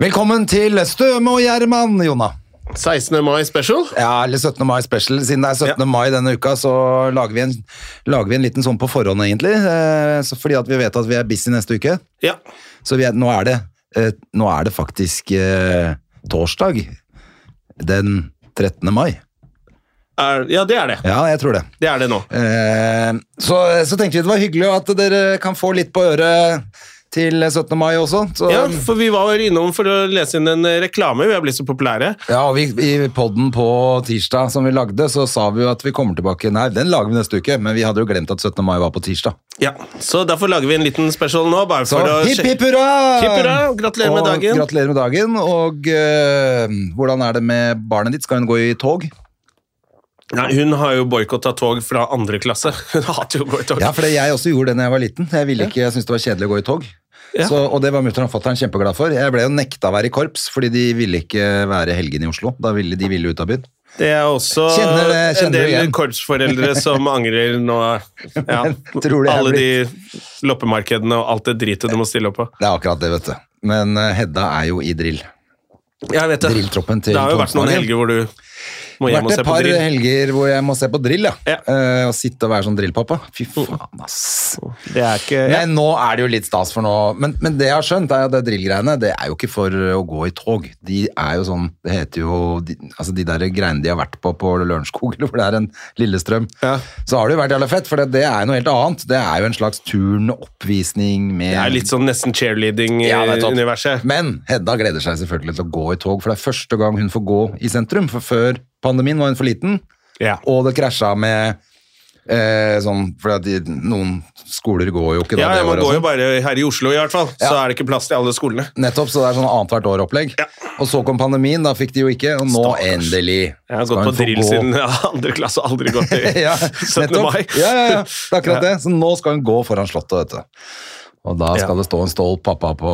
Velkommen til Støme og Gjerman, Jonna. 16. mai special. Ja, eller 17. mai special. Siden det er 17. mai denne uka, så lager vi en, lager vi en liten sånn på forhånd, egentlig. Eh, så fordi at vi vet at vi er busy neste uke. Ja. Så vi er, nå, er det, eh, nå er det faktisk eh, torsdag den 13. mai. Er, ja, det er det. Ja, jeg tror det. Det er det nå. Eh, så, så tenkte vi det var hyggelig at dere kan få litt på øret til 17. mai også. Så, Ja, for Vi var innom for å lese inn en eh, reklame. Vi er blitt så populære. Ja, og vi, I podden på tirsdag som vi lagde, så sa vi jo at vi kommer tilbake. Nei, den lager vi neste uke, men vi hadde jo glemt at 17. mai var på tirsdag. Ja, Så derfor lager vi en liten special nå. bare Så for å hipp, sjekke- hipp hurra! Hipp hurra, og gratulerer med Og dagen. Gratulerer med dagen, og eh, hvordan er det med barnet ditt? Skal hun gå i tog? Nei, Hun har jo boikotta tog fra andre klasse. Hun hater jo å gå i tog. Ja, for det jeg også gjorde det når jeg var liten. Jeg ville ikke, jeg syntes det var kjedelig å gå i tog. Ja. Så, og det var mutter'n og fatter'n kjempeglad for. Jeg ble jo nekta å være i korps, fordi de ville ikke være helgen i Oslo. Da ville de ville ut av byen. Det er også Kjenner det- kjenner en det del igjen. korpsforeldre som angrer nå. Ja, Tror det er alle de loppemarkedene og alt det dritet du må stille opp på. Det er akkurat det, vet du. Men eh, Hedda er jo i drill. Jeg vet det. Drilltroppen til Det har jo vært noen Kongsberg. helger hvor du må Det hjem har og vært se et på par drill. helger hvor jeg må se på drill, ja. Ja. Eh, og sitte og være sånn drillpappa. Fy faen, ass. Det er ikke ja. Men nå er det jo litt stas for nå. Men, men det jeg har skjønt, er at det drillgreiene, det er jo ikke for å gå i tog. De er jo sånn, det heter jo de, Altså de der greiene de har vært på på Lørenskog, eller hvor det er en Lillestrøm, Ja. så har det jo vært jævla fett, for det, det er jo noe helt annet. Det er jo en slags turnoppvisning med Det er litt sånn nesten Ja, det er topp. cheerleading-universet. Men Hedda gleder seg selvfølgelig til å gå i tog, for det er første gang hun får gå i sentrum. For før pandemien var hun for liten, Ja. og det krasja med eh, sånn For at de, noen skoler går jo ikke da. Ja, det man året går jo også. bare her i Oslo, i hvert fall. Så Ja. er det ikke plass til alle skolene. Nettopp, så det er sånn annethvert år-opplegg. Ja. Og så kom pandemien, da fikk de jo ikke, og nå endelig Jeg har skal gått hun på få drill gå. siden ja, andre klasse, aldri gått i ja, 17. nettopp. mai. Ja, ja, ja, det er akkurat det. Så nå skal hun gå foran slottet, vet du. Og da skal Ja. det stå en stolt pappa på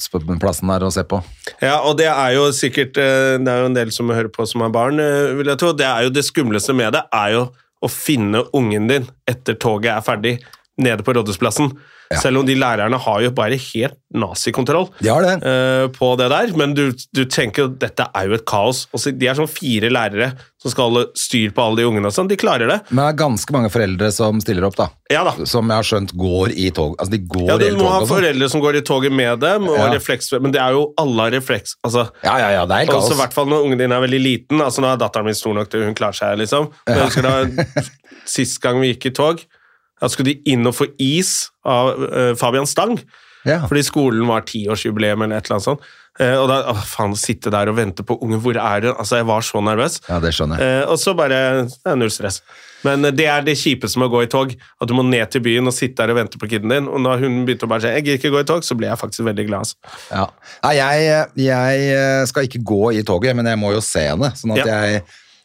slottsplassen der og se på. Ja, og det er jo sikkert eh, Det er jo en del som hører på som har barn, eh, vil jeg tro. Det er jo det skumleste med det, er jo å finne ungen din etter toget er ferdig, nede på Rådhusplassen. Selv om de lærerne har jo bare helt nazikontroll De har det. eh, på det der. Men du, du tenker jo dette er jo et kaos. Og så, de er sånn fire lærere som skal holde styr på alle de ungene og sånn. De klarer det. Men det er ganske mange foreldre som stiller opp, da. Ja da. Som jeg har skjønt går i tog. Altså, de går Ja, i Du må ha tog. og sånn. foreldre som går i toget med dem, og Ja. refleks, men det er jo alle har refleks. Altså, Ja, ja, ja, det er helt Og så i kaos. hvert fall når ungen din er veldig liten. altså Nå er datteren min stor nok til hun klarer seg. liksom. Men jeg husker da, Sist gang vi gikk i tog, da skulle de inn og få is av eh, Fabian Stang. Ja. Fordi skolen var tiårsjubileum eller et eller annet sånt. Eh, og da, å, faen, sitte der og vente på ungen, hvor er hun? Altså, Jeg var så nervøs. ja, det skjønner jeg. Eh, og så bare det er Null stress. Men eh, det er det kjipeste med å gå i tog. At du må ned til byen og sitte der og vente på kiden din. Og når hun begynte å bare si 'jeg gidder ikke gå i tog', så ble jeg faktisk veldig glad. altså. Ja. Nei, jeg, jeg eh, skal ikke gå i toget, men jeg må jo se henne. Sånn at Ja. jeg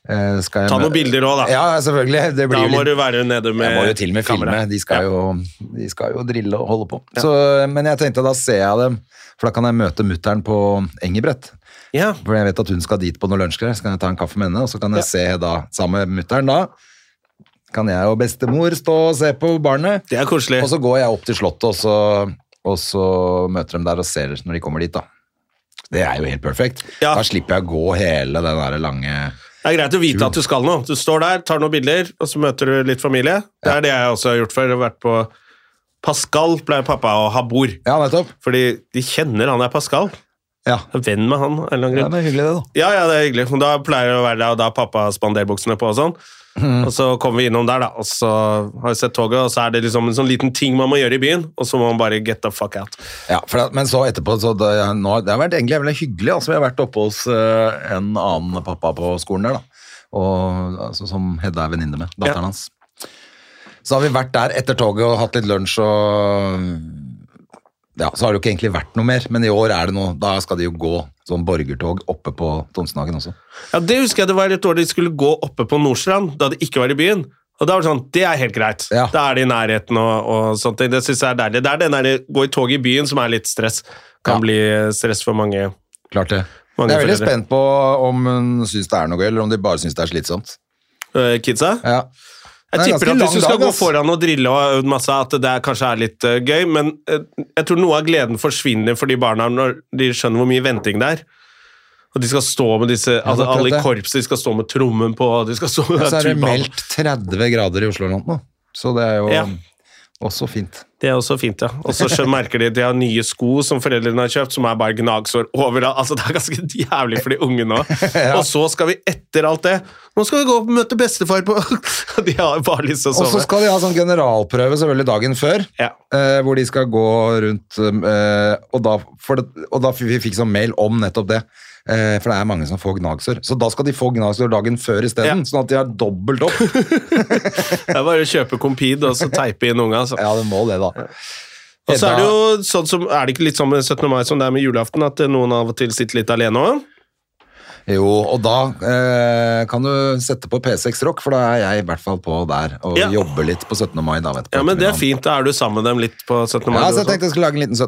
eh, skal jeg Ta mø- noen bilder òg, da. Ja, selvfølgelig. Det da blir jo må litt du være nede med jeg må jo til og med filme. kamera. De skal, jo, de skal jo drille og holde på. Så, men jeg tenkte da ser jeg dem, for da kan jeg møte mutter'n på Engebrett. Ja. For jeg vet at hun skal dit på noen lunsjgreier, så kan jeg ta en kaffe med henne, og så kan jeg se da, sammen med mutteren da, kan jeg og bestemor stå og se på barnet, Det er koselig. og så går jeg opp til slottet, og så, og så møter de der og ser når de kommer dit da. Det er jo helt perfekt. Ja. Da slipper jeg å gå hele den der lange... Det er greit å vite at du skal noe. Du står der, tar noen bilder, og så møter du litt familie. Det er det jeg også har gjort før. Jeg har vært på Pascal pleier pappa å ha bord. Ja, nettopp. Fordi de kjenner han er Pascal. Ja, Jeg er venn med han. av en eller annen ja grunn. det er hyggelig det da. Ja, ja, det er hyggelig. Men da pleier det å være der, og da har pappa spanderbuksene på og sånn. Mhm. Og så kommer vi innom der, da, og så har vi sett toget, og så er det liksom en sånn liten ting man må gjøre i byen, og så må man bare get the fuck out. Ja, for da- men så etterpå, så det, nå, det har vært egentlig veldig hyggelig, altså vi har vært oppe hos eh, en annen pappa på skolen der da, og, altså, som Hedda er venninne med, datteren Ja. hans. Så har vi vært der etter toget og hatt litt lunsj og ja, så har det jo ikke egentlig vært noe mer, men i år er det noe, da skal det jo gå sånn borgertog oppe på Tonsenhagen også. Ja, Det husker jeg det var et år de skulle gå oppe på Nordstrand, da det ikke var i byen. Og da var det sånn, Det er helt greit. Ja. Da er det i nærheten og, og sånne ting. Det syns jeg er deilig. Det er den der gå i tog i byen som er litt stress. Kan Ja. bli stress for mange. Klart det. Mange jeg er veldig foreldre. spent på om hun syns det er noe gøy, eller om de bare syns det er slitsomt. øh, Kidsa? Ja. Jeg Det er en ganske tipper at hvis du lang skal dag, gå ass. foran og drille og ha øvd masse, at det der kanskje er litt øh, gøy, men øh, jeg tror noe av gleden forsvinner for de barna når de skjønner hvor mye venting det er. Og de skal stå med disse, altså, det er akkurat alle i det. korpset, de skal stå med trommen på og de skal stå med Ja, så er det tuba. meldt 30 grader i Oslo eller noe, nå. så det er jo Ja. også fint. Det er også fint, ja. Og så skjønner- merker de at de har nye sko som foreldrene har kjøpt, som er bare gnagsår overalt. Altså, det er ganske jævlig for de unge nå. Og så skal vi etter alt det Nå skal vi gå og møte bestefar på De har bare lyst til Og å så sove. skal de ha sånn generalprøve selvfølgelig dagen før, Ja. eh, hvor de skal gå rundt eh, og, da, for det, og da f- vi fikk sånn mail om nettopp det. Eh, for det er mange som får gnagsår. Så da skal de få gnagsår dagen før isteden, Ja. sånn at de har dobbelt opp. Det er bare å kjøpe Compede og så teipe inn unga. Altså. ja, det må det, da. Og så er det jo sånn som Er det ikke litt sånn med 17. mai som det er med julaften, at noen av og til sitter litt alene òg? Jo, og da eh, kan du sette på P6 Rock, for da er jeg i hvert fall på der og Ja. jobber litt på 17. mai. Da, vet du, på Ja, men det er ettermiddagen. fint. Da er du sammen med dem litt på 17. mai. Ja, så jeg og sånn. tenkte jeg skulle lage en liten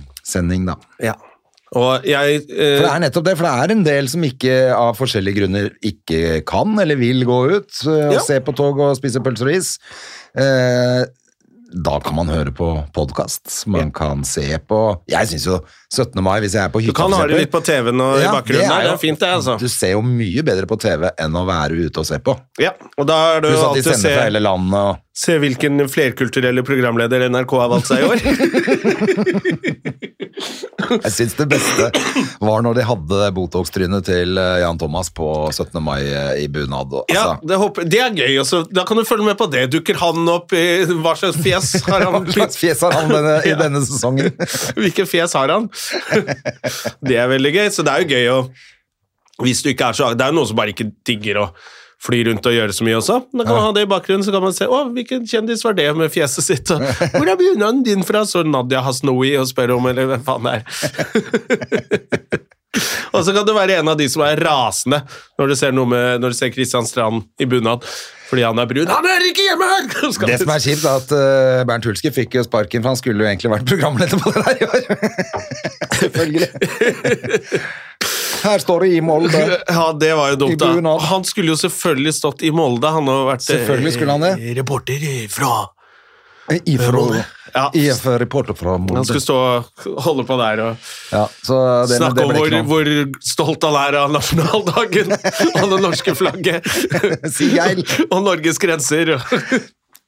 17. mai-sending, eh, da. ja. Og jeg For eh, det er nettopp det, for det er en del som ikke av forskjellige grunner ikke kan eller vil gå ut eh, og Ja. se på tog og spise pølser og is. Eh, da kan man høre på podkast, man kan se på Jeg syns jo 17. mai, hvis jeg er på Du hytta kan for ha det eksempel- litt på TV-en og i Ja, bakgrunnen. der. Det jo- er fint, det, altså. Du ser jo mye bedre på TV enn å være ute og se på. Ja, og da er det jo Pluss at de alltid å sender se, fra hele landet og se hvilken flerkulturelle programleder NRK har valgt seg i år. Jeg syns det beste var når de hadde det Botox-trynet til eh, Jan Thomas på 17. mai eh, i bunad. og- ja, Altså, det, håper, det er gøy også. Da kan du følge med på det. Dukker han opp i Hva slags fjes har hva han? slags altså, fjes har han denne, i Ja. denne sesongen? Hvilke fjes har han? Det er veldig gøy, så det er jo gøy å Hvis du ikke er så Det er jo noen som bare ikke digger å fly rundt og gjøre så mye også. Da kan man ha det i bakgrunnen, så kan man se Å, hvilken kjendis var det med fjeset sitt? Og, Hvor er bunaden din fra? Så Nadia Hasnoui og spør om, eller hvem faen det er. og så kan du være en av de som er rasende når du ser, noe med, når du ser Christian Strand i bunad fordi han er brun. Han er ikke hjemme! Så skal Det du- som er kjipt, er at eh, Bernt Hulske fikk jo sparken, for han skulle jo egentlig vært programleder på det der i år. Selvfølgelig. Her står det i Molde. Ja, det var jo dumt, I bunad. da. Han skulle jo selvfølgelig stått i Molde. Han har vært eh, Selvfølgelig skulle han det. reporter fra IF-reporter Ja. fra Han skulle Molde. stå og holde på der og Ja, så det, men snakke det om ble hvor, ikke noe. hvor stolt han er av nasjonaldagen og det norske flagget. Si geil. og Norges grenser.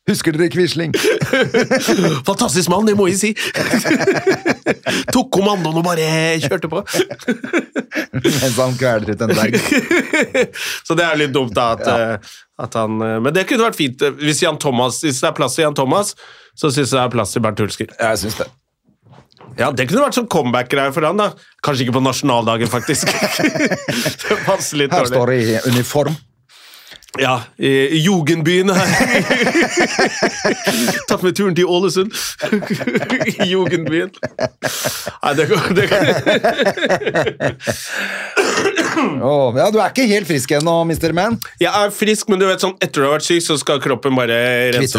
Husker dere Quisling? Fantastisk mann, det må jeg si! Tok kommandoen og bare kjørte på. Mens han kveler ut en dag. Så det er litt dumt da at, eh, at han eh, Men det kunne vært fint eh, hvis, Jan Thomas, hvis det er plass til Jan Thomas, så syns jeg det er plass til Bernt Hulsker. Jeg syns det. Ja, Det kunne vært sånn comeback-greie for han da. Kanskje ikke på nasjonaldagen, faktisk. det passer litt Her står dårlig. det i uniform. Ja, i i Jugendbyen her. Tatt med turen til Ålesund. I Jugendbyen. Nei, det går, det går. Åh, ja, du er ikke helt frisk ennå, Mr. Man. Jeg er frisk, men du vet sånn, etter du har vært syk, så skal kroppen bare rense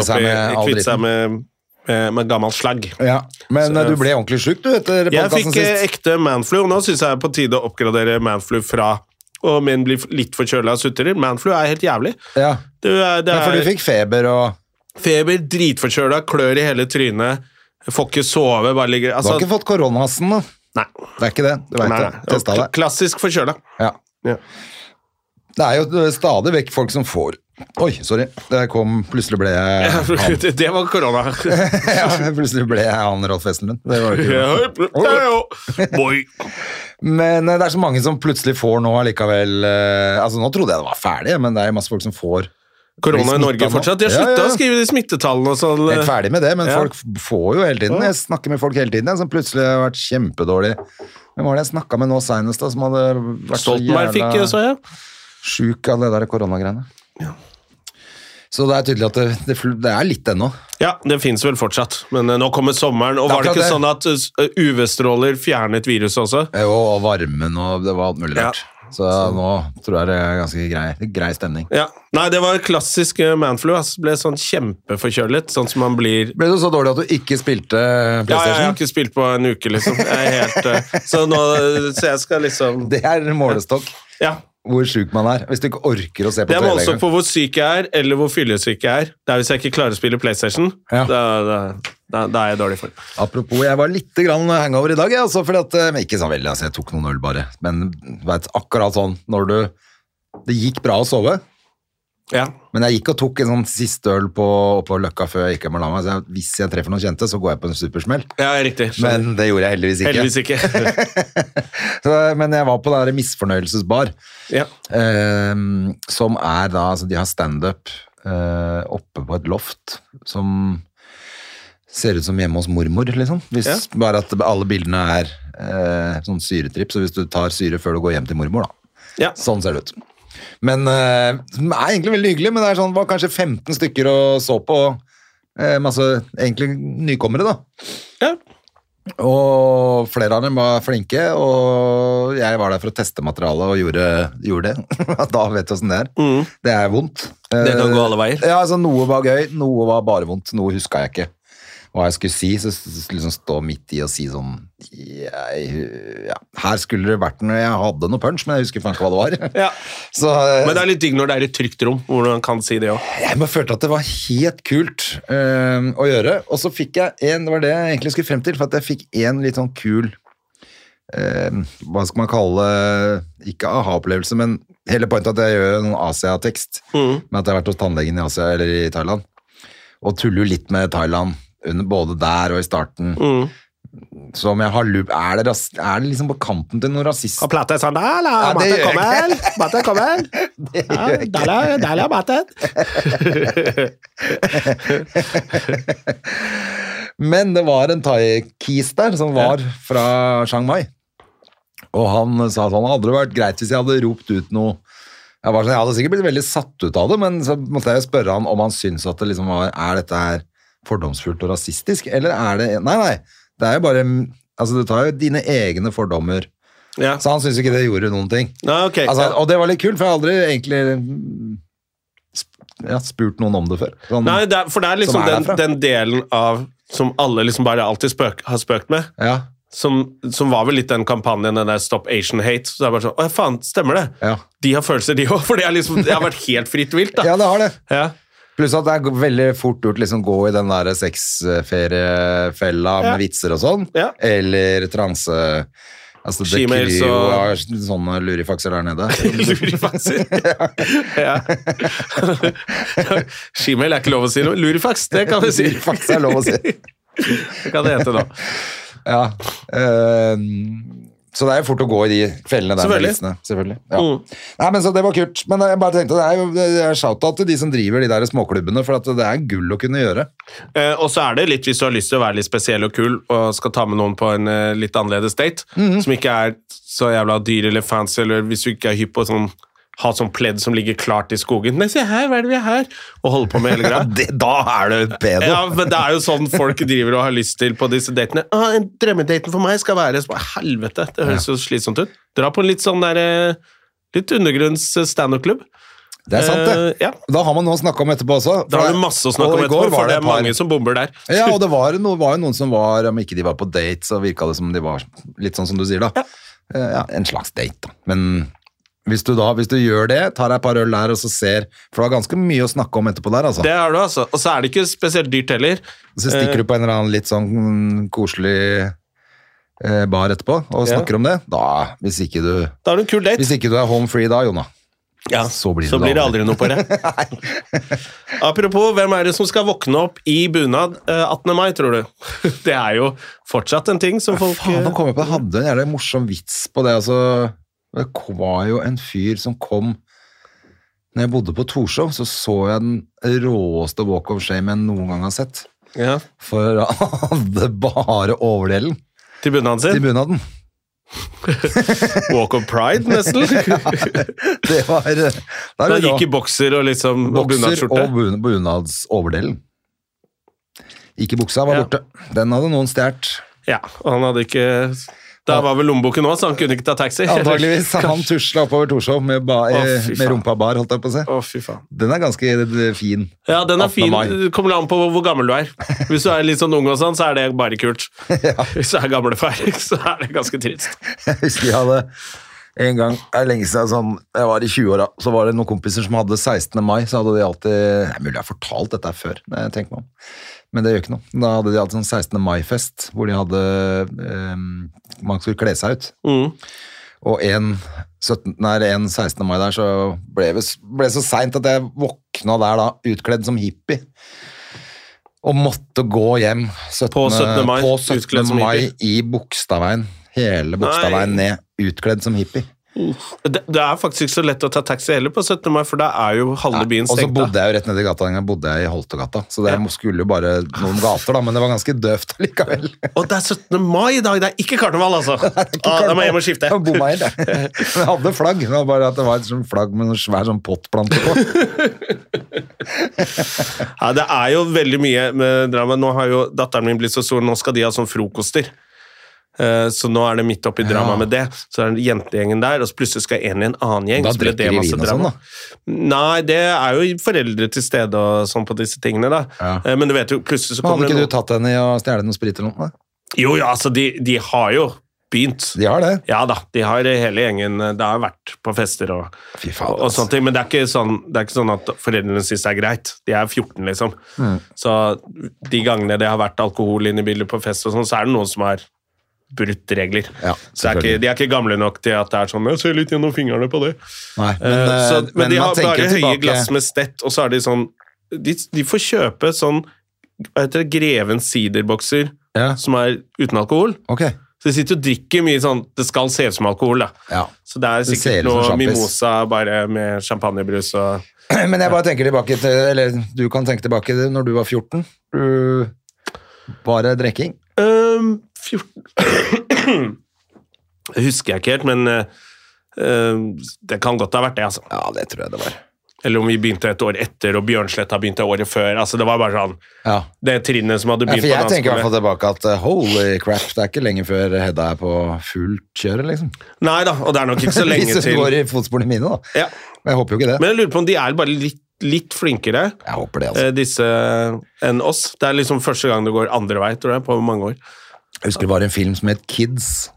Kvitte opp seg i- med all kvitte seg dritten. med, med, med gammel slagg. Ja, men eh, du ble ordentlig sjuk du etter Jeg podkasten fikk eh, sist. ekte manflu, og nå syns jeg det er på tide å oppgradere manflu fra og min blir litt forkjøla og sutrer. Manflu er helt jævlig. Ja, Det er, eh, det ja, for er du fikk feber og feber, dritforkjøla, klør i hele trynet, får ikke sove, bare ligger Du altså, har ikke fått koronasen, da. Nei. Det er ikke det. Du veit nei, det. nei. Testa Kla- deg. Klassisk forkjøla. Ja. Ja. Det er jo stadig vekk folk som får Oi, sorry. Det kom Plutselig ble jeg han, Det var korona. ja, plutselig ble jeg han Rolf Wesenlund. Det var jo ikke bra. Boy. Men eh, det er så mange som plutselig får nå allikevel eh, Altså, nå trodde jeg det var ferdig, men det er jo masse folk som får Korona i Blir Norge smittet nå. fortsatt. De har Ja, slutta ja, ja. å skrive de smittetallene og sånn. Helt ferdig med det, men Ja. folk f- får jo hele tiden. Jeg snakker med folk hele tiden jeg, som plutselig har vært kjempedårlig. Hvem var det jeg snakka med nå seinest, da, som hadde vært så Stoltenberg fikk, jævla så jeg. sjuk av det der koronagreiene? Så det er tydelig at det, det, fl- det er litt ennå. Ja, det fins vel fortsatt, men eh, nå kommer sommeren. Det Og er var det ikke akkurat sånn at eh, UV-stråler fjernet viruset også? Jo, Eh, og varmen og det var alt mulig rart. Så nå tror jeg det er ganske grei, grei stemning. Ja. Nei, det var klassisk eh, manflu. ass. Ble sånn kjempeforkjølet, sånn som man blir Ble du så dårlig at du ikke spilte ja, ja, jeg PlayStation? har ikke spilt på en uke, liksom. Jeg er helt, eh, så, nå, så jeg skal liksom Det er en målestokk Ja. hvor sjuk man er. Hvis du ikke orker å se på Det er TV målestokk engang. på hvor syk jeg er, eller hvor fyllesyk jeg er. Det er hvis jeg ikke klarer å spille PlayStation. Ja. Da, da, da, da er jeg dårlig for Apropos, jeg var litt grann hangover i dag, jeg, altså, fordi at, eh, men ikke sånn veldig, altså, jeg tok noen øl bare. Men du vet, akkurat sånn, når du, det gikk bra å sove, Ja. men jeg gikk og tok en sånn siste øl på, på løkka før jeg gikk hjem og la meg, så jeg, hvis jeg treffer noen kjente, så går jeg på en supersmell. ja, riktig. Skjønner. Men det gjorde jeg heldigvis ikke. Heldigvis ikke. Så, men jeg var på den der misfornøyelsesbar, ja. eh, som er da, altså de har stand-up eh, oppe på et loft, som ser ut som hjemme hos mormor, liksom. Hvis, Ja. Bare at alle bildene er eh, sånn syretripp, så hvis du tar syre før du går hjem til mormor, da. ja. Sånn ser det ut. Men eh, det er egentlig veldig hyggelig, men det er sånn, var kanskje 15 stykker og så på, eh, masse egentlig nykommere, da. ja. Og flere av dem var flinke, og jeg var der for å teste materialet og gjorde, gjorde det. da vet du åssen det er. Mm. Det er vondt. Det kan Eh, gå alle veier. Ja, altså Noe var gøy, noe var bare vondt. Noe huska jeg ikke hva jeg skulle si. Så s- s- liksom stå midt i og si sånn jeg, ja, Her skulle det vært noe Jeg hadde noe punch, men jeg husker faen ikke hva det var. Ja. Så, eh, Men det er litt digg når det er i et trygt rom, hvor man kan si det òg. jeg bare følte at det var helt kult øhm, å gjøre. Og så fikk jeg en, det var det jeg egentlig skulle frem til, for at jeg fikk en litt sånn kul øhm, Hva skal man kalle Ikke aha-opplevelse, men hele pointet at jeg gjør en Asia-tekst. Med at jeg har vært hos tannlegen i Asia eller i Thailand. Og tuller jo litt med Thailand, under, både der og i starten. Som jeg har lup, er, det ras, er det liksom på kanten til noe rasist? Og plate sånn Dala, Ja, det mate, gjør jeg kom ikke. her! Mate, kom her! Ja, Dala, dala, mate. Men det var en thai-kis der som var fra Chiang Mai. Og han sa sånn, det hadde vært greit hvis jeg hadde ropt ut noe. Jeg, var sånn, jeg hadde sikkert blitt veldig satt ut av det, men så måtte jeg jo spørre han om han syns at det liksom var, er dette her fordomsfullt og rasistisk, eller er det Nei, nei, det er jo bare Altså, du tar jo dine egne fordommer. Ja. Så han syns ikke det gjorde noen ting. Ja, ok. Altså, Ja. og det var litt kult, for jeg har aldri egentlig mm, sp- ja, spurt noen om det før. Sånn- Nei, det er, for det er liksom Som er den, derfra. den delen av som alle liksom bare alltid spøk, har spøkt med, ja, som, som var vel litt den kampanjen, den der Stop Asian Hate. Så det er bare sånn Å ja, faen, stemmer det? Ja. De har følelser, de òg, for det, er liksom, det har vært helt fritt vilt, da. ja, det har det. Ja. Pluss at det er go- veldig fort gjort liksom gå i den der sexferiefella Ja. med vitser og sånn, Ja. eller transe... Altså, det Shemales kryr jo og- av sånne lurifakser der nede. Lurifakser. ja. Shemale er ikke lov å si noe. Lurifaks, det kan vi si. Lurifaks er lov å si. Det kan det hete nå. Ja. eh, så det er jo fort å gå i de fellene der med Selvfølgelig. vitsene. Selvfølgelig. Ja. Mm. Nei, men så det var kult. Men jeg bare tenkte, det er jo det er shout-out til de som driver de der småklubbene, for at det er gull å kunne gjøre. Eh, og så er det litt, hvis du har lyst til å være litt spesiell og kul og skal ta med noen på en eh, litt annerledes date, Mhm. som ikke er så jævla dyr eller fancy, eller hvis du ikke er hypp på sånn ha sånn pledd som ligger klart i skogen. Nei, se her, hva er det vi er her? Og holde på med hele greia. Det, da er du en pedo. Ja, men det er jo sånn folk driver og har lyst til på disse datene. Ah, en drømmedaten for meg skal være så bare, Helvete, det høres jo slitsomt ut. Dra på en litt sånn der eh, Litt undergrunns eh, standup-klubb. Det er sant, det. Eh, ja. Da har man noe å snakke om etterpå også. Da har For- du masse å snakke og om i går etterpå, var for det et er par- mange som bomber der. Ja, og det var, no, var jo noen som var Om ikke de var på date, så virka det som de var litt sånn som du sier, da. Eh, Ja, en slags date, da. Men hvis du da, hvis du gjør det, tar deg et par øl der og så ser For det var ganske mye å snakke om etterpå der, altså. Det eh, er du, altså. Og så er det ikke spesielt dyrt heller. Så stikker du på en eller annen litt sånn mm, koselig eh, bar etterpå og Ja. snakker om det. Da, hvis ikke du Da har du en kul date. Hvis ikke du er home free da, Jonna. Ja, så blir det det aldri noe på det. Apropos, hvem er det som skal våkne opp i bunad eh, 18. mai, tror du? Det er jo fortsatt en ting som folk Faen, eh, nå kom jeg på det. Jeg hadde en jævlig morsom vits på det. Altså, det kom- var jo en fyr som kom Når jeg bodde på Torshov, så så jeg den råeste walk of shame jeg noen gang har sett. eh, ja, For han hadde bare overdelen til bunaden til sin. bunaden. Walk of pride, nesten. Det var eh, der Da vi gikk i bokser og liksom og Bokser bunadsskjorte. og bun- bunadsoverdelen. Ikke buksa var Ja. borte. Den hadde noen stjålet. Ja, og han hadde ikke Da var vel lommeboken òg, så han kunne ikke ta taxi. Antakeligvis. Han tusla oppover Torshov med, ba, Å, eh, fy med faen. rumpa bar, holdt jeg på å si. Å, fy faen. Den er ganske eh, fin. Ja, den er 18. fin. mai. Det kommer an på hvor gammel du er. Hvis du er litt sånn ung, og sånn, så er det bare kult. Hvis du er gamlefar, så er det ganske trist. Jeg husker jeg hadde en gang, det er lenge siden, sånn, jeg var i 20-åra, så var det noen kompiser som hadde 16. mai, så hadde de alltid Det er mulig jeg har fortalt dette her før, når jeg tenker meg om, men det gjør ikke noe. Da hadde de alltid sånn 16. mai-fest, hvor de hadde eh, Man skulle kle seg ut. Mm. Og en, 17, nei, en 16. mai der, så ble det ble det så seint at jeg våkna der da, utkledd som hippie. Og måtte gå hjem 17, På 17. mai, på 17. utkledd som mai i hippie. Bogstadveien. Hele Bogstadveien ned, utkledd som hippie. Det, det er faktisk ikke så lett å ta taxi heller på 17. mai, for da er jo halve byen Og så stengt. bodde da. jeg jo rett nedi gata, den gangen bodde jeg i Holtegata, så det skulle jo bare noen gater, da, men det var ganske døvt likevel. Og det er 17. mai i dag! Det er ikke karneval, altså! Ah, da må jeg hjem og skifte. Jeg bomma helt, jeg. Men jeg hadde flagg, det var bare at det var et sånt flagg med en svær sånn pottplante på. Ja, det er jo veldig mye med drama. Nå har jo datteren min blitt så stor, nå skal de ha sånn frokoster. Eh, Så nå er det midt oppi drama med det. Så er det jentegjengen der, og så plutselig skal en i en annen gjeng. Da så blir det drikker de masse vin og drama. sånn, da. Nei, det er jo foreldre til stede og sånn på disse tingene, da. Ja. Eh, Men du vet jo, plutselig så Men kommer hadde det ikke du noen tatt henne i å stjele noe sprit eller noe? Jo, ja, altså, de, de har jo begynt. De har det. Ja da, de har hele gjengen eh, Det har vært på fester og, Fy faen, altså. og, og sånne ting. Men det er, ikke sånn, det er ikke sånn at foreldrene syns det er greit. De er 14, liksom. Mm. Så de gangene det har vært alkohol inne i bildet på fest, og sånn, så er det noen som har brutt regler. Ja, så det er ikke, selvfølgelig. de er ikke gamle nok til at det er sånn Jeg ser litt gjennom fingrene på det. Nei, men, Eh, så, eh, men, men de man har tenker bare høye tilbake- glass med stett, og så er de sånn De, de får kjøpe sånn hva heter det, Grevens siderbokser Ja. som er uten alkohol. Ok. Så de sitter og drikker mye sånn Det skal se ut som alkohol, da. Ja. Så det er Det ser sikkert ut som noe sjampis. mimosa bare med champagnebrus og Men jeg bare tenker tilbake til, eller du kan tenke tilbake til når du var 14. Du bare drekking. Øhm, 14 Det husker jeg ikke helt, men øh, øhm, det kan godt ha vært det, altså. Ja, det tror jeg det var. Eller om vi begynte et år etter, og Bjørnsletta begynte året før. Altså, det var bare sånn Ja. Det trinnet som hadde Ja, begynt for jeg på tenker i hvert dansegulvet. fall tilbake at eh, holy crap, det er ikke lenge før Hedda er på fullt kjør, liksom. Nei da, og det er nok ikke så Hvis lenge hun til. går i fotsporene mine, da. Ja. Men jeg håper jo ikke det. Men jeg lurer på om de er bare litt, litt flinkere, Jeg håper det, altså. eh, disse, enn oss. Det er liksom første gang det går andre vei, tror jeg, på mange år. Jeg husker det var en film som het Kids,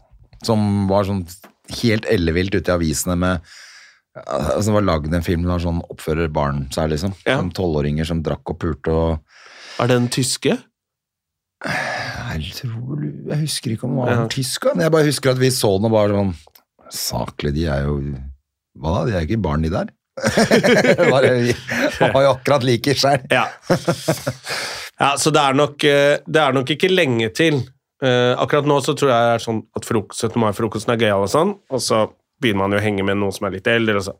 som var sånn helt ellevilt ute i avisene med altså, Det var lagd en film der sånn oppfører barn seg, liksom. Ja. Som tolvåringer som drakk og pulte og Er det den tyske? Jeg tror Jeg husker ikke om det var Ja. ja. tysker, men jeg bare husker at vi så den og bare sånn Saklig, de er jo Hva da, de er ikke barn, de der? bare, vi var jo akkurat like sjøl. Ja. ja så det er, nok, eh, det er nok ikke lenge til. Eh, akkurat nå så tror jeg det er sånn at frok- 17. mai-frokosten er gøyal og sånn, og så begynner man jo å henge med noen som er litt eldre. Og så.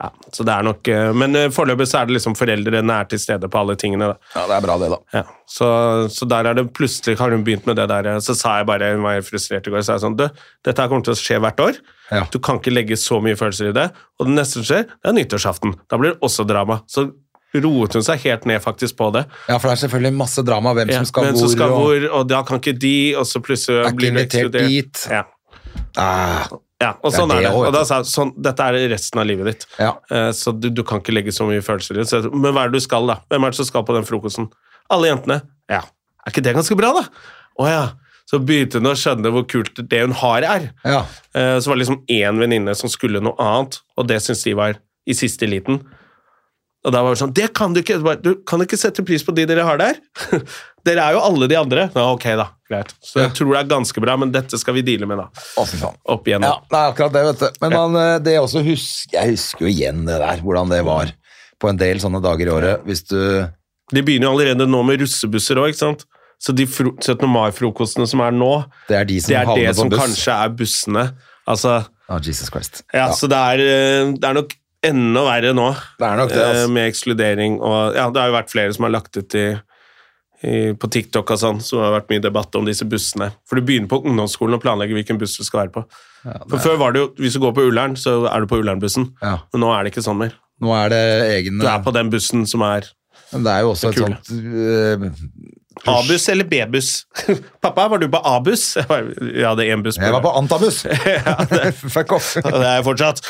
Ja, så det er nok, eh, men eh, foreløpig så er det liksom foreldrene er til stede på alle tingene. Da. Ja, det er bra, det, da. Ja, så, så der er det plutselig har hun begynt med det der. eh, Så sa jeg bare, hun var helt frustrert i går, så sa jeg sånn, du, dette her kommer til å skje hvert år. Ja. Du kan ikke legge så mye følelser i det. Og det neste som skjer, det er nyttårsaften. Da blir det også drama. Så roet hun seg helt ned faktisk på det. Ja, for det er selvfølgelig masse drama hvem Ja, som skal men hvor. så skal og- hvor, og da kan ikke de, og så plutselig Er ikke blir du invitert ekskludert. dit. Ja. Ah, Ja, og Det er sånn er det det. også, Og vet da du. sa jeg sånn, dette er resten av livet ditt. Ja. Eh, Så du, du kan ikke legge så mye følelser i det. Så jeg sa, Men hva er det du skal, da? Hvem er det som skal på den frokosten? Alle jentene. Ja. Er ikke det ganske bra, da? Å ja. Så begynte hun å skjønne hvor kult det hun har, er. ja. Eh, Så var det liksom én venninne som skulle noe annet, og det syntes de var i siste liten. Og da var det sånn Det kan du ikke! Du kan ikke sette pris på de dere har der! dere er jo alle de andre! Ja, ok, da. Greit. Så jeg tror det er ganske bra, men dette skal vi deale med, da. Å, fy faen. Opp igjennom. Ja, det er akkurat det, vet du. Men man, eh, det også husker, jeg husker jo igjen det der, hvordan det var på en del sånne dager i året. Hvis du De begynner jo allerede nå med russebusser òg, ikke sant? Så de fro 17. mai-frokostene som er nå, Det er de som det er havner det på som buss. kanskje er bussene. Altså, Ah, Jesus Christ. ja, så det er, eh, det er nok enda verre nå. Det er nok det, altså. eh, Med ekskludering og Ja, det har jo vært flere som har lagt ut i i, på TikTok og sånn, så har det vært mye debatt om disse bussene. For du begynner på ungdomsskolen og planlegger hvilken buss du skal være på. For før var det jo, hvis du går på Ullern, så er du på Ullernbussen. Ja. Men nå er det ikke sånn mer. Nå er det egen Du er på den bussen som er Men Det er jo også et Kul. sånt øh, A-buss eller B-buss. Pappa, var du på A-buss? Jeg var- Jeg hadde én buss. eh, Jeg var på Antabus! Fuck off! Og det er jeg fortsatt.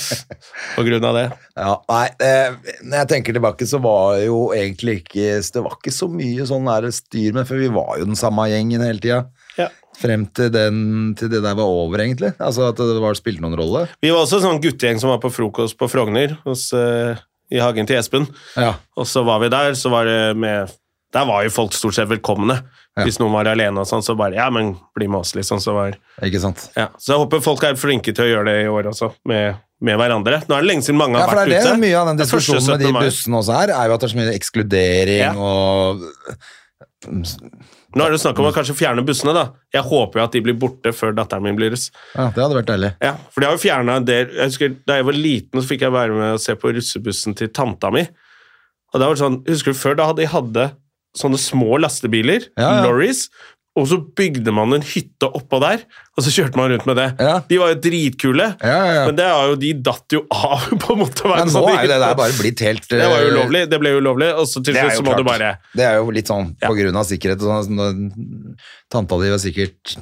På grunn av det. Ja, nei, eh, når jeg tenker tilbake, så var jo egentlig ikke Det var ikke så mye sånn der styr med, for vi var jo den samme gjengen hele tida. Ja. Frem til, den, til det der var over, egentlig. Altså at det var, spilte noen rolle. Vi var også en sånn guttegjeng som var på frokost på Frogner hos, eh, i hagen til Espen. Ja. Og så var vi der, så var det med Der var jo folk stort sett velkomne. Ja. Hvis noen var alene og sånn, så bare Ja, men bli med oss, liksom. Så, var, Ikke sant? ja. så jeg håper folk er flinke til å gjøre det i år også, med, med hverandre. Nå er det lenge siden mange Ja, har for vært det ute. er det mye av den Det er første diskusjonen med de 17. mai. bussene også her, er jo at det er så mye ekskludering Ja. og Nå er det jo snakk om å kanskje fjerne bussene, da. Jeg håper jo at de blir borte før datteren min blir russ. Ja, det hadde vært deilig. Ja, for de har jo fjernet en del Jeg husker Da jeg var liten, så fikk jeg være med og se på russebussen til tanta mi. Og da var det sånn, Husker du før, da de hadde sånne små lastebiler, Ja, ja. lorries, og så bygde man en hytte oppå der, og så kjørte man rundt med det. Ja. De var jo dritkule, Ja, ja, ja. men det er jo, de datt jo av på Men motorveien. nå så de- er jo det der bare blitt helt Det var jo øh, ulovlig, det ble jo ulovlig, og så til Det er slutt jo så må du klart. bare Det er jo litt sånn Ja. på grunn av sikkerhet. og Sånn, sånn, tanta di var sikkert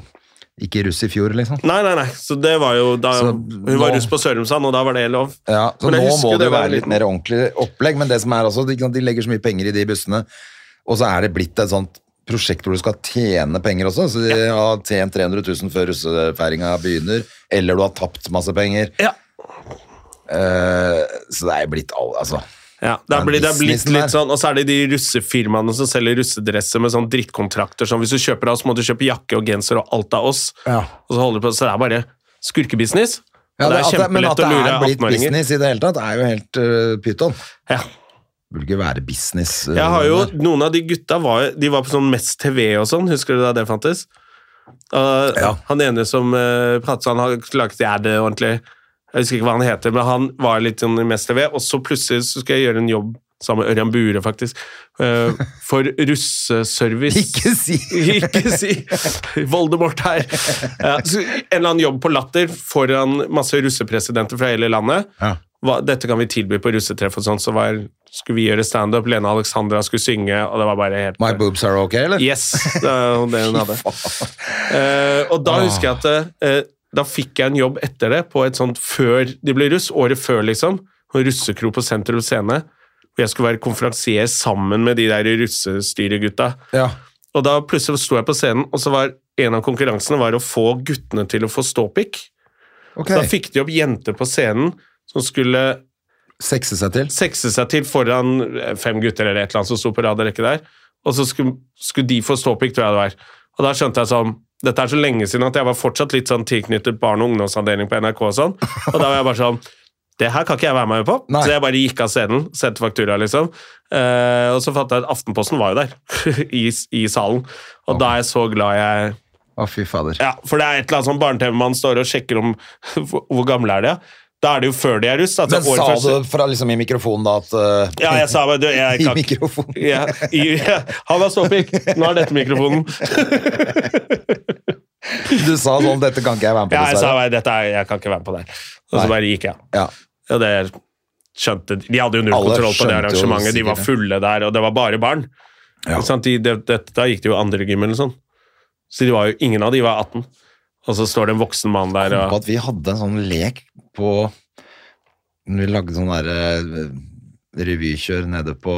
ikke russ i fjor, liksom. Nei, nei, nei. Så det var jo da Så Hun var nå- russ på Sørumsand, og da var det lov. Ja, så Men nå jeg husker må jo det jo var være litt liten- mer ordentlig opplegg, men det som er også, ikke sant, de legger så mye penger i de bussene, og så er det blitt et sånt prosjekt hvor du skal tjene penger også, så de har tjent 300 000 før russefeiringa begynner, eller du har tapt masse penger. Ja. Eh, så det er jo blitt all, altså. Ja, det er Den blitt, det er blitt businessen litt der. sånn, Og så er det de russefirmaene som selger russedresser med sånn drittkontrakter. Sånn, hvis du kjøper av oss, må du kjøpe jakke og genser og alt av oss. Ja. Og så holder du på, så det er bare skurkebusiness. Og Ja, det at er men at kjempelett det å lure er blitt 18-åringer. business i det hele tatt, er jo helt eh, pyton. Ja. Burde ikke være business. eh, Jeg har jo, der. Noen av de gutta var, jo- de var på sånn Mest TV og sånn, husker du da det fantes? Og Ja. Han ene som eh, pratet sånn, han klarte ikke jeg det ordentlig. Jeg husker ikke hva han heter, men han var litt sånn i Mest TV, og så plutselig så skal jeg gjøre en jobb sammen med Ørjan Bure, faktisk, eh, for russeservice. Ikke si... Ikke si Voldemort her. Ja, så en eller annen jobb på Latter foran masse russepresidenter fra hele landet. Ja. Hva, dette kan vi tilby på russetreff og sånn. Så var, skulle vi gjøre standup, Lene Alexandra skulle synge, og det var bare helt My boobs are okay, eller? Yes, det var det hun hadde. Eh, og da husker jeg at eh, da fikk jeg en jobb etter det, på et sånt før de ble russ, året før liksom, på en russekro på Sentrum Scene, hvor jeg skulle være konferansier sammen med de der russestyregutta. Ja. Og da plutselig sto jeg på scenen, og så var en av konkurransene var å få guttene til å få ståpikk. Ok. Så Da fikk de opp jenter på scenen som skulle Sekse seg til. sekse seg til foran eh, fem gutter eller et eller annet som sto på rad og rekke der, og så skulle, skulle de få ståpikk, tror jeg det var. Og da skjønte jeg sånn Dette er så lenge siden at jeg var fortsatt litt sånn tilknyttet barn- og ungdomsavdeling på NRK og sånn. Og da var jeg bare sånn Det her kan ikke jeg være med på. Nei. Så jeg bare gikk av scenen, sendte faktura, liksom. Eh, og så fant jeg at Aftenposten var jo der, i, i salen. Og da er jeg så glad jeg Å, fy fader. ja, for det er et eller annet sånn barne-TV-mann står og sjekker om hvor hvor gamle er de. ja. Da er det jo før de er russ. Altså, Men sa året før- du fra, liksom, i mikrofonen da at eh, Ja, jeg sa bare du, jeg I kan ikke mikrofonen. ja, i, Han var ståpikk. Nå er dette mikrofonen. Du sa sånn 'Dette kan ikke jeg være med på', Ja, jeg sa dessverre. bare dette er, jeg kan ikke være med på det her. Og Nei. så bare gikk jeg. Ja. Og det skjønte De De hadde jo null Alle kontroll på det skjønte jo arrangementet. De sikkert var det. fulle der, og det var bare barn. Ja. Ikke sant? De, det- det- da gikk det jo andre gym eller sånn. Så de var jo, ingen av de var 18. Og så står det en voksen mann der På og at vi hadde en sånn lek på Når vi lagde sånn derre revykjør nede på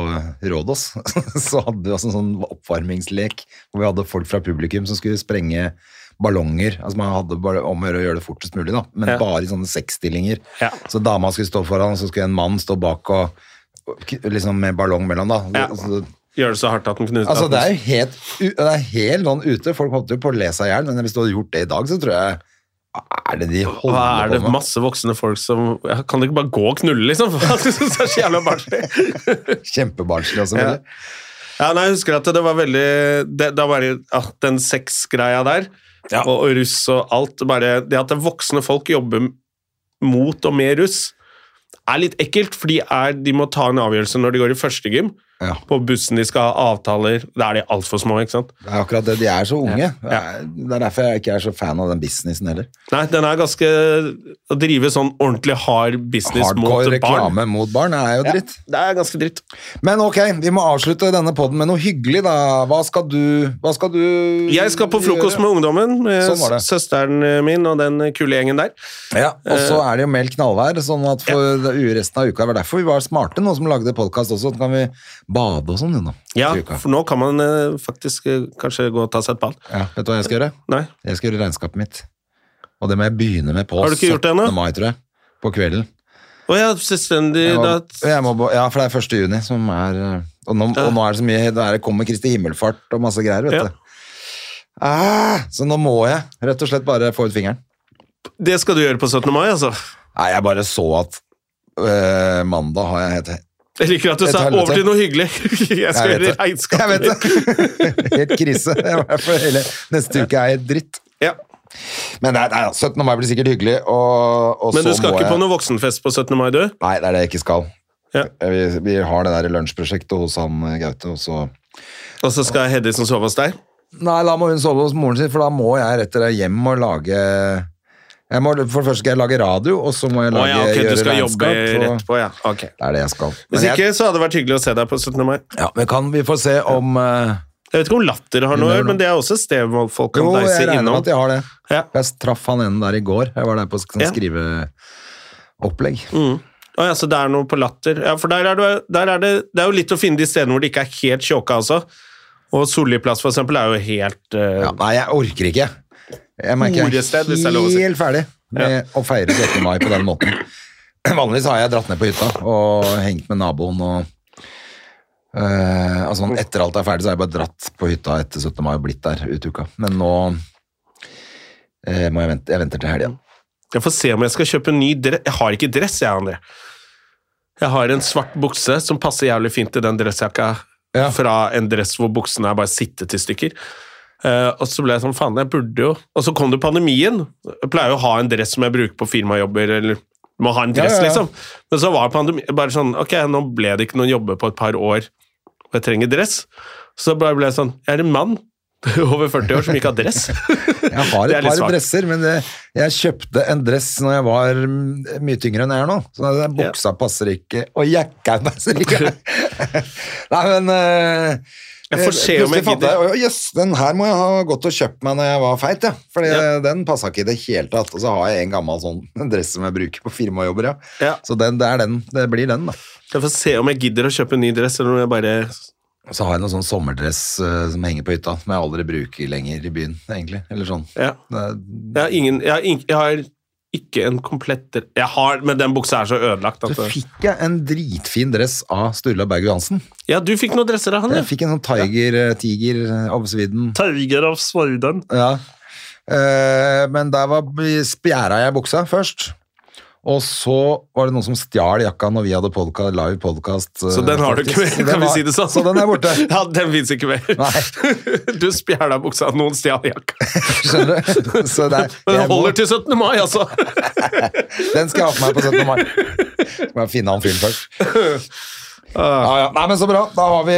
Rådås, så hadde vi altså en sånn oppvarmingslek hvor vi hadde folk fra publikum som skulle sprenge ballonger. Altså Man hadde bare om å gjøre å gjøre det fortest mulig, da, men Ja. bare i sånne seksstillinger. Ja. Så dama skulle stå foran, og så skulle en mann stå bak og og k- liksom med ballong mellom, da. Ja. Altså, gjør det så hardt at den knuser Altså, det er jo helt, u- det er helt sånn ute. Folk holdt jo på å le seg i hjel, men hvis du hadde gjort det i dag, så tror jeg Hva er det de holder Hva er det på med? masse voksne folk som ja, Kan dere ikke bare gå og knulle, liksom? Hva synes du det er så jævla barnslig? Kjempebarnslig, altså. Ja. men- Ja, nei, jeg husker at det var veldig det, det var, bare- ja, Den sexgreia der, og, og russ og alt bare, Det at det voksne folk jobber mot og med russ, er litt ekkelt, for de, er, de må ta en avgjørelse når de går i første gym. Ja. på bussen de skal ha avtaler. Da er de altfor små, ikke sant? Det er akkurat det. De er så unge. Det er- Det er derfor jeg ikke er så fan av den businessen heller. Nei, den er ganske Å drive sånn ordentlig hard business mot Hardcore barn reklame mot barn er jo dritt. Det er ganske dritt. Men ok, vi må avslutte denne podden med noe hyggelig, da. Hva skal du Hva skal du Jeg skal på frokost med ungdommen, med Sånn var det. søsteren min og den kule gjengen der. Ja, og så Eh. er det jo meldt knallvær, sånn at for det- resten av uka var derfor vi var smarte nå som lagde podkast også. Så kan vi bade og sånn, Jonas. Ja, til uka. for nå kan man eh, faktisk eh, kanskje gå og ta seg et ball. ja. Vet du hva jeg skal gjøre? Nei. Jeg skal gjøre regnskapet mitt. Og det må jeg begynne med på Har du ikke gjort det ennå? 17. mai, tror jeg. På kvelden. Å ja, selvstendig Jeg må, da, jeg må, ja, for det er 1. juni som er eh, Og nå, og nå er det så mye Da er det kommer Kristi himmelfart og masse greier, vet Ja. du. Ah, så nå må jeg rett og slett bare få ut fingeren. Det skal du gjøre på 17. mai, altså. Nei, jeg bare så at øh, mandag har jeg hete Jeg liker at du Et sa helvete. 'over til noe hyggelig'. Jeg Jeg skal gjøre vet det. Jeg regnskapet vet det! Helt krise. Det var For hele, neste uke er helt dritt. Ja. Men nei, nei, 17. mai blir sikkert hyggelig, og, og Men du så skal må ikke jeg på noe voksenfest på 17. mai, du? Nei, det er det jeg ikke skal. Ja. Eh, Vi, vi har det der lunsjprosjektet hos han eh, Gaute, og så Og så skal Hedison sove hos deg? Nei, da må hun sove hos moren sin, for da må jeg rett og slett hjem og lage jeg må, For det første skal jeg lage radio, og så må jeg Å lage, ja, ok, du gjøre skal jobbe regnskap. og- rett på, ja. Ok. Det er det jeg skal. Hvis Men jeg, ikke, så hadde det vært hyggelig å se deg på 17. mai. ja, men kan vi få se om eh, Jeg vet ikke om latter har noe å Gjør gjøre, noe. men det er også et sted hvor folk kan Jo, deise jeg regner med innom. at jeg har det. Ja. Jeg traff han ene der i går. Jeg var der på sånn Ja. skriveopplegg. Å ja, så det er noe på latter. Ja, for der er det, der er det, det er jo litt å finne de stedene hvor det ikke er helt tjåka også. Og Solli plass, for eksempel, er jo helt eh, Ja, nei, jeg orker ikke. Jeg merker jeg Horested, hvis det er er lov å si. helt ferdig med å feire 17. mai på den måten. Vanligvis har jeg dratt ned på hytta og hengt med naboen og eh, altså, Etter alt er ferdig, så har jeg bare dratt på hytta etter 17. mai og blitt der ut uka. Men nå eh, må jeg vente. Jeg venter til helga. Jeg får se om jeg skal kjøpe en ny dress. Jeg har ikke dress, jeg, André. Jeg har en svart bukse som passer jævlig fint til den dressjakka Ja. fra en dress hvor buksene er bare sittet i stykker. Eh, og så ble jeg sånn, faen, jeg burde jo Og så kom det pandemien. Jeg pleier jo å ha en dress som jeg bruker på firmajobber, eller må ha en dress, Ja, ja, ja. liksom. Men så var pandemien bare sånn, ok, nå ble det ikke noen jobber på et par år, og jeg trenger dress. Så bare ble jeg sånn, jeg er en mann over 40 år som ikke har dress. Jeg har Det er et litt par svakt. dresser, men det, jeg kjøpte en dress når jeg var mm, mye tyngre enn jeg er nå. Så den buksa passer ikke, og jakka passer ikke. Nei, men eh, Jeg får se om jeg plutselig fant gidder. jeg, «Å, Jøss, den her må jeg ha gått og kjøpt meg når jeg var feit, ja. For Ja. den passa ikke i det hele tatt. Og så har jeg en gammel sånn dress som jeg bruker på firmajobber, ja. Ja. Så den, det er den. Det blir den, da. Jeg får se om jeg gidder å kjøpe en ny dress, eller om jeg bare Og så har jeg noen sånn sommerdress eh, som henger på hytta, som jeg aldri bruker lenger i byen, egentlig. Eller sånn. Ja. Det er Jeg har ingen Jeg har, ing- jeg har ikke en komplett dre- Jeg har, men den buksa er så ødelagt at eh, Så fikk jeg en dritfin dress av Sturla Berg Johansen. Ja, du fikk noen dresser av han, ja. Jeg fikk en sånn tiger, tiger eh, av Sweden. Tiger of Sweden. Ja. Eh, Men der var, spjæra jeg buksa først. Og så var det noen som stjal jakka når vi hadde podka, live podkast. Så den har du ikke mer, kan vi si det sånn? Så den er borte. Ja, den fins ikke mer. Nei. Du spjæla buksa, noen stjal jakka. Skjønner du? Så det er, Men jeg den må- holder til 17. mai, altså! Den skal jeg ha på meg på 17. mai. Skal bare finne han fyren først. Ja, ja. Nei, men så bra. Da har vi,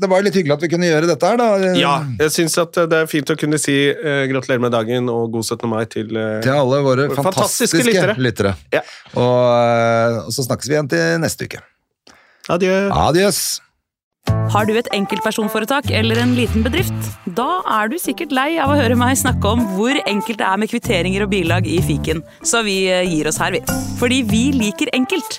det var jo litt hyggelig at vi kunne gjøre dette her, da. Ja, jeg syns at det er fint å kunne si eh, gratulerer med dagen og god 17. mai til eh, Til alle våre Våre fantastiske fantastiske, lyttere. lyttere. Ja. Og, eh, og så snakkes vi igjen til neste uke. Adjø. Adios! Har du et enkeltpersonforetak eller en liten bedrift? Da er du sikkert lei av å høre meg snakke om hvor enkelt det er med kvitteringer og bilag i fiken, så vi eh, gir oss her, vi. Fordi vi liker enkelt.